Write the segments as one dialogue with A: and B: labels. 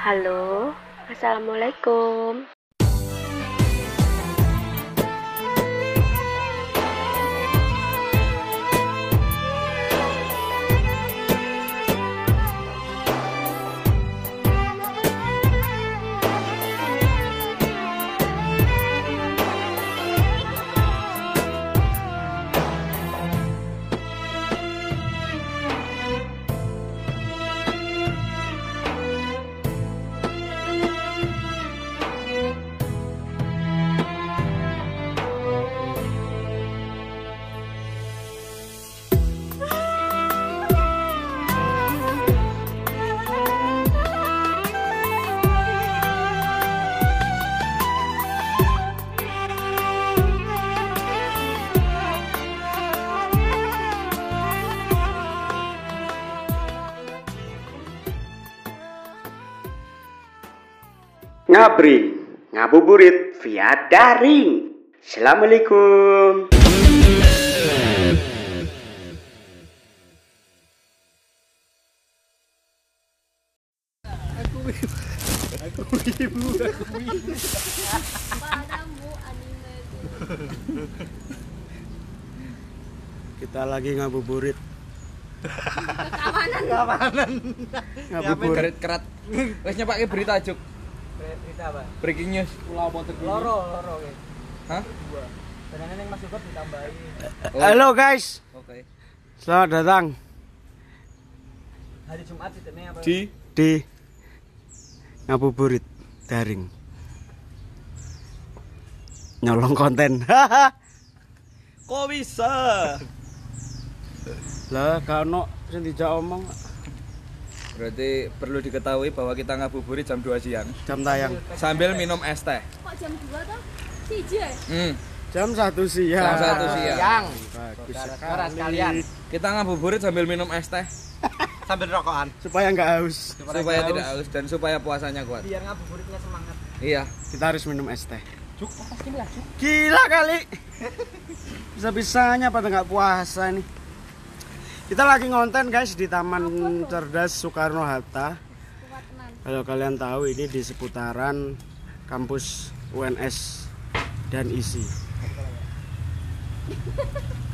A: Halo, Assalamualaikum.
B: Ngabri, ngabuburit via daring. Assalamualaikum.
C: Kita lagi ngabuburit. Keamanan.
D: Ngapain
C: Ngabuburit.
D: kerat kerat. Wes nyepake berita juk.
E: Berita apa?
D: Breaking news.
E: Loro, loro ya.
D: Hah?
E: Benangnya yang masuk kot ditambahin.
C: Halo guys,
D: Oke.
C: selamat datang
E: Hari Jumat itu nih apa?
D: Di
C: di ngabuburit daring. Nyolong konten. Haha.
D: kok bisa?
C: lah kano sing dijak omong
D: Berarti perlu diketahui bahwa kita ngabuburit jam 2 siang
C: jam tayang.
D: sambil minum es teh.
F: kok jam 2 toh? Siji ya?
D: Hmm.
C: Jam 1 siang.
D: Jam 1 siang.
E: Yang
C: Bagus
E: suara
C: sekali.
E: Ya, sekalian
D: Kita ngabuburit sambil minum es teh
E: sambil rokokan.
C: Supaya nggak haus,
D: supaya tidak haus dan supaya puasanya kuat.
E: Biar ngabuburitnya semangat.
D: Iya.
C: kita harus minum es teh. Gila kali. Bisa-bisanya pada nggak puasa nih. Kita lagi ngonten guys di Taman Cerdas Soekarno Hatta.
F: Kuat tenan.
C: Kalau kalian tahu ini di seputaran kampus UNS dan ISI.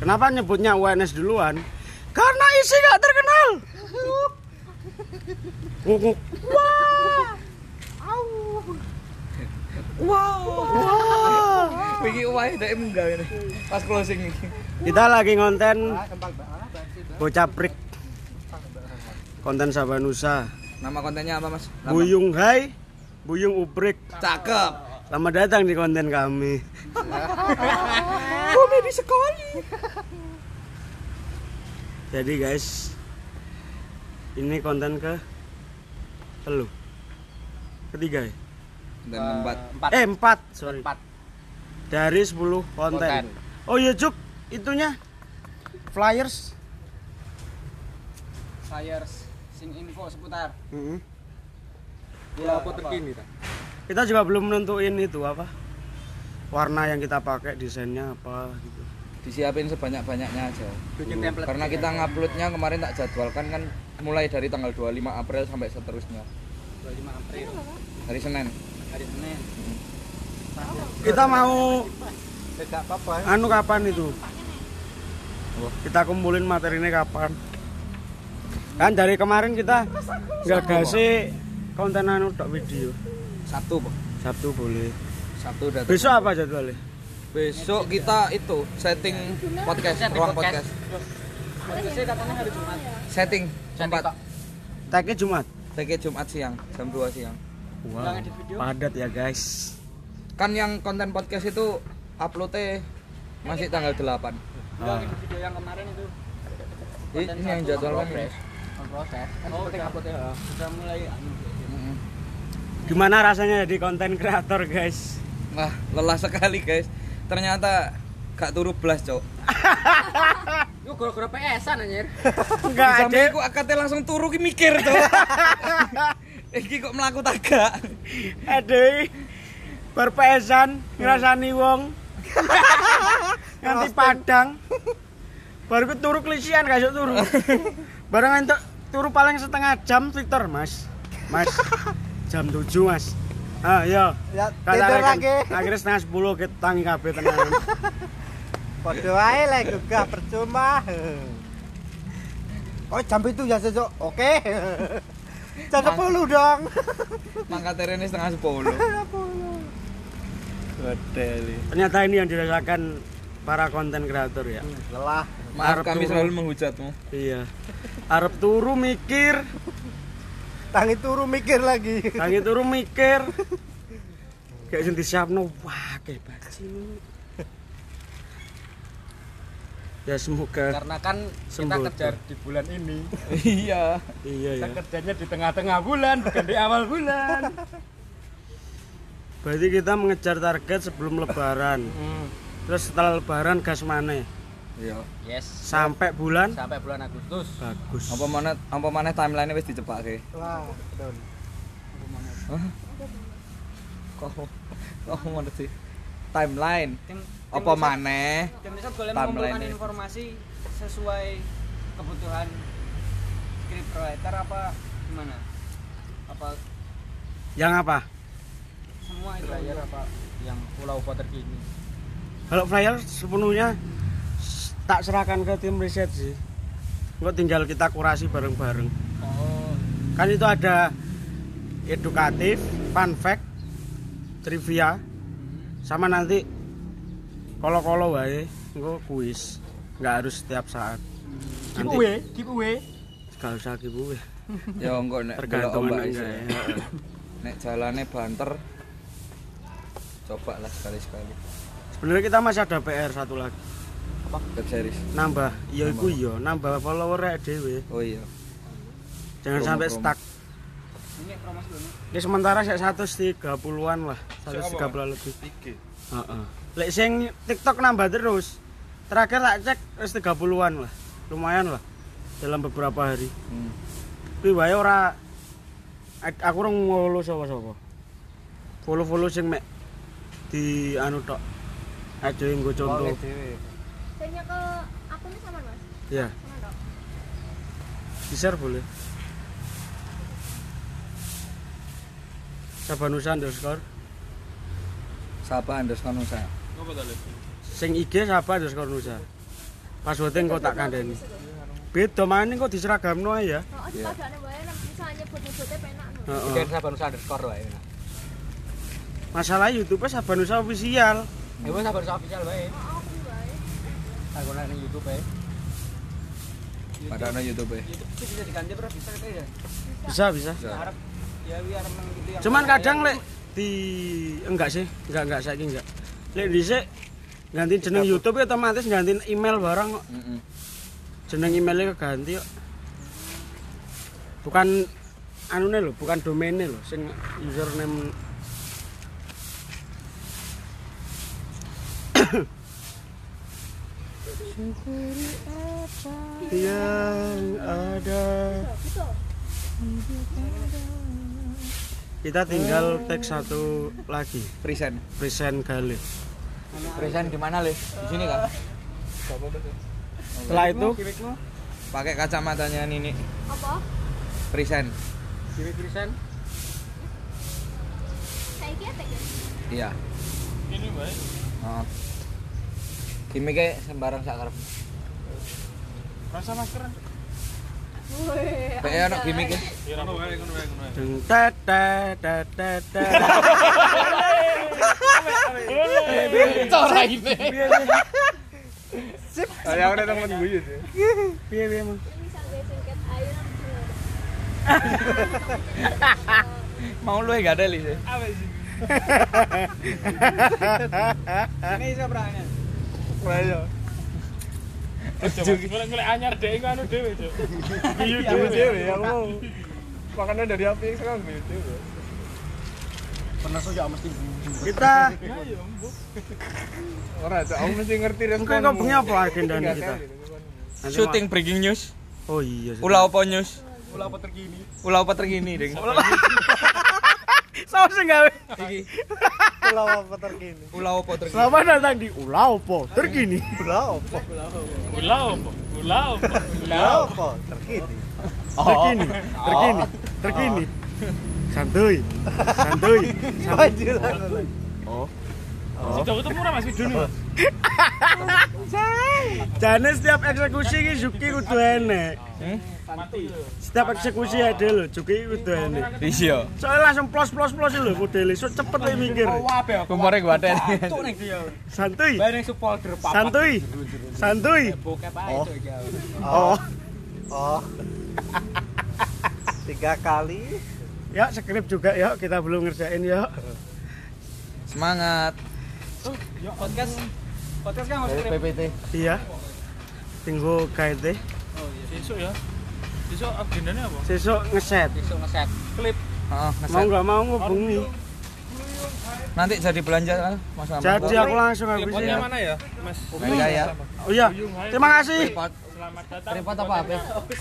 C: Kenapa nyebutnya UNS duluan? Karena ISI nggak terkenal. Nguk-nguk. Ah.
D: Iki wae dek munggah ini. Pas closing iki.
C: Kita lagi ngonten Bocah Prik. Konten Sabanusa.
D: Nama kontennya apa, Mas? Nama-
C: Buyung Hai, Buyung Uprik.
D: Cakep.
C: Selamat datang di konten kami.
D: Komedi sekali.
C: Jadi guys, ini konten ke telu. Ketiga ya?
D: Dan tempat
C: Eh, empat, sorry. Dari 10 konten. Oh iya, Cuk, itunya flyers.
E: Flyers sing info seputar.
D: Mm-hmm.
C: Mm-mm.
E: Ya, apa terkini
C: Kita juga belum nentuin itu apa. Warna yang kita pakai, desainnya apa gitu.
D: disiapin sebanyak-banyaknya aja.
E: Bikin template.
D: Karena kita nguploadnya kemarin tak jadwalkan kan mulai dari tanggal 25 April sampai seterusnya
E: 25 April
D: hari Senin.
E: hari Senin.
C: Kita mau
E: Tidak apa-apa.
C: anu kapan itu? Kita kumpulin materinya kapan? Kan dari kemarin kita nggak kasih konten anu tok video.
D: Sabtu, Pak.
C: Sabtu boleh.
D: Sabtu udah
C: Besok apa jadwalnya?
D: Besok kita itu setting podcast, ruang podcast.
E: Saya katanya hari Jumat.
D: Setting tempat
C: Tagnya Jumat.
D: TK Jumat siang jam 2 siang.
C: Wow. Padat ya guys.
D: Kan yang konten podcast itu uploadnya masih tanggal 8.
C: Ah.
E: Di video yang kemarin itu
D: Ini yang jadwal kan.
E: proses. Oh, penting uploadnya. ya. Sudah mulai anu.
C: Gimana rasanya jadi konten kreator guys?
D: Wah, lelah sekali, guys. Ternyata gak turu blas, Cok.
E: Yo gara-gara PS-an anjir.
C: Enggak ada.
D: Sampai aku akate langsung turu ki mikir, Cok. Iki kok melaku tagak.
C: Ada berpesan
G: Hmm.
C: ngerasani wong. Nanti padang. Baru ku turu kelisian gak iso turu. Bareng entuk turu paling setengah jam Twitter mas mas jam 7 mas ah iya
G: Ya,
C: Kata
G: tidur
C: rekan,
G: lagi.
C: akhirnya setengah 10 kita tangi kabeh tenan
G: Padha ae lek gegah percuma. Oh jam itu ya sesuk. Oke. Jam 10 dong.
D: Mangkat terene setengah sepuluh.
C: ternyata ini yang dirasakan para konten kreator ya
G: Lelah.
D: Maaf
C: Arep
D: kami
C: turun.
D: selalu menghujatmu.
C: iya Arab turu mikir
G: Tangi turu mikir lagi.
C: tangi turu mikir kayak sing disiapno wah kayak bajing ya semoga
E: Karena kan kita
C: Sembuh.
E: kejar di bulan ini.
D: Iya.
C: iya
E: Kita
C: ya
E: kerjanya di tengah-tengah bulan, bukan di awal bulan.
C: berarti kita mengejar target sebelum lebaran
E: Hmm,
C: terus setelah lebaran gas maneh
D: Iya.
E: Yes.
C: sampai bulan
E: Sampai bulan Agustus.
C: bagus
D: Apa mana apa mana timeline-nya wis dicepake.
G: Lah, don.
D: Kok kok ngono sih? Timeline.
E: Tim, tim
D: Apa
E: riset-
D: maneh?
E: Tim riset boleh
D: Timeline
E: mengumpulkan
D: ini.
E: informasi sesuai kebutuhan script writer apa gimana? Apa
C: yang apa
E: semua itu aja apa yang pulau Potter ini?
C: kalau flyer sepenuhnya s- tak serahkan ke tim riset sih kok tinggal kita kurasi bareng-bareng
E: Oh,
C: kan itu ada edukatif, fun fact, trivia, sama nanti kolo-kolo wae, engko kuis, nggak harus setiap saat. Nanti
E: giveaway, giveaway.
C: gak usah giveaway,
D: Ya engko nek delok
C: tergantung
D: ombak
C: anak
D: iso.
C: enggak ya.
D: Nek jalane banter. Cobalah sekali-sekali.
C: Sebenarnya kita masih ada PR satu lagi,
D: Web series.
C: nambah, iya iku iya, nambah follower rek dhewe.
D: Oh iya.
C: Jangan
D: Promo,
C: sampai
D: promo.
C: stuck.
E: Ini promosi dulu.
C: Ini sementara saya 130-an lah, 130 lebih. Heeh. Lek sing TikTok nambah terus. Terakhir tak cek wis 30-an lah. Lumayan lah dalam beberapa hari.
D: Hmm.
C: Kuwi wae ora ak- aku rong follow sapa-sapa. Follow-follow sing mek di anu tok. Aja nggo contoh.
G: Wong dhewe.
F: Banyak ke akunnya sama mas?
C: Ya,
F: Sama dok?
C: di-share boleh. Sabanusa underscore
D: Sapa underscore nusa.
C: sing IG sapa underscore nusa. Passwordnya engko tak kandhani. Beda maning kok diseragamno ae ya.
F: Oh, di padahalnya bayar, nanti bisa nyebut-nyebutnya penak no.
C: Heeh.
E: Jangan sabar nusa underscore wae.
C: masalah YouTube Sabanusa official
E: Ya wis sabar nusa official wae.
F: Oh, aku bayar.
E: Aku nang ning YouTube wae.
D: Padahal YouTube.
E: YouTube itu bisa diganti bro, bisa kita ya.
C: bisa bisa
E: Harap ya wi arep nang gitu yang
C: cuman
E: kaya-
C: kadang lek di enggak sih enggak enggak saya enggak lek dhisik ganti jeneng YouTube ya otomatis ganti email barang kok
D: Heeh.
C: jeneng emailnya keganti kok bukan anune lho bukan domainnya lho sing username yang ada kita tinggal tag satu lagi
D: Present.
C: present Galih
D: Present di mana, Le? Di sini kan?
C: setelah itu
D: Pakai kacamatanya Nini.
F: Apa?
D: Present.
E: Dewi Krisen.
F: Saya kira tag ya?
D: Iya. Ini baik. Oh. Gimiknya sembarang sak karep.
F: Weh,
D: Pek ana gimiknya.
C: Deng, tet, tet, tet, tet, tet.
D: Ayo udah temen gue
C: Piye, piye, Mang?
F: ini bisa gue singkat ayo nanti dulu.
D: Mau lu enggak ada, Le.
E: Ini iso berangnya.
C: kita ora aku mesti ngerti kok bengi apa agenda kita Nanti
D: Shooting breaking news.
C: mau- oh iya sih.
D: Ulah apa news? Ulah apa terkini. Ulah apa terkini, Ding.
C: Saos sing gawe
D: Iki.
G: Pulau apa terkini?
D: Ulah apa terkini?
C: selamat datang di Ulah Opo terkini
G: Pulau apa? Pulau apa? Pulau apa? Pulau apa terkini?
C: terkini, terkini, terkini. Santuy, santuy, santuy.
G: Maju lah.
C: Oh. Jane setiap eksekusi ki Juki kudu enek. Setiap eksekusi ada lho, Juki kudu enek.
D: Iya.
C: Soalnya langsung plos plos plos lho, modele so cepet lho mikir.
D: Kumpare gua ada.
E: Cuk ning dia.
C: Santuy,
E: Bae ning supporter papat.
C: santuy, santuy.
E: Bokep ae cuk iki.
C: Oh,
G: Oh. Tiga kali.
C: ya skrip juga yuk, kita belum ngerjain ya. yuk.
D: Semangat.
E: Podcast podcast kan harus skrip.
D: PPT.
C: Iya. Tinggu kaite.
E: Oh iya. Besok ya. Besok agendanya apa?
C: Sesuk ngeset.
E: Besok ngeset klip.
D: Heeh,
C: Mau nggak mau ngubungi.
D: Nanti jadi belanja kan Mas Amar.
C: Jadi aku langsung habis ya.
E: ya? Mas.
D: Kaya ya.
C: Oh iya. Terima kasih.
D: Repot apa apa?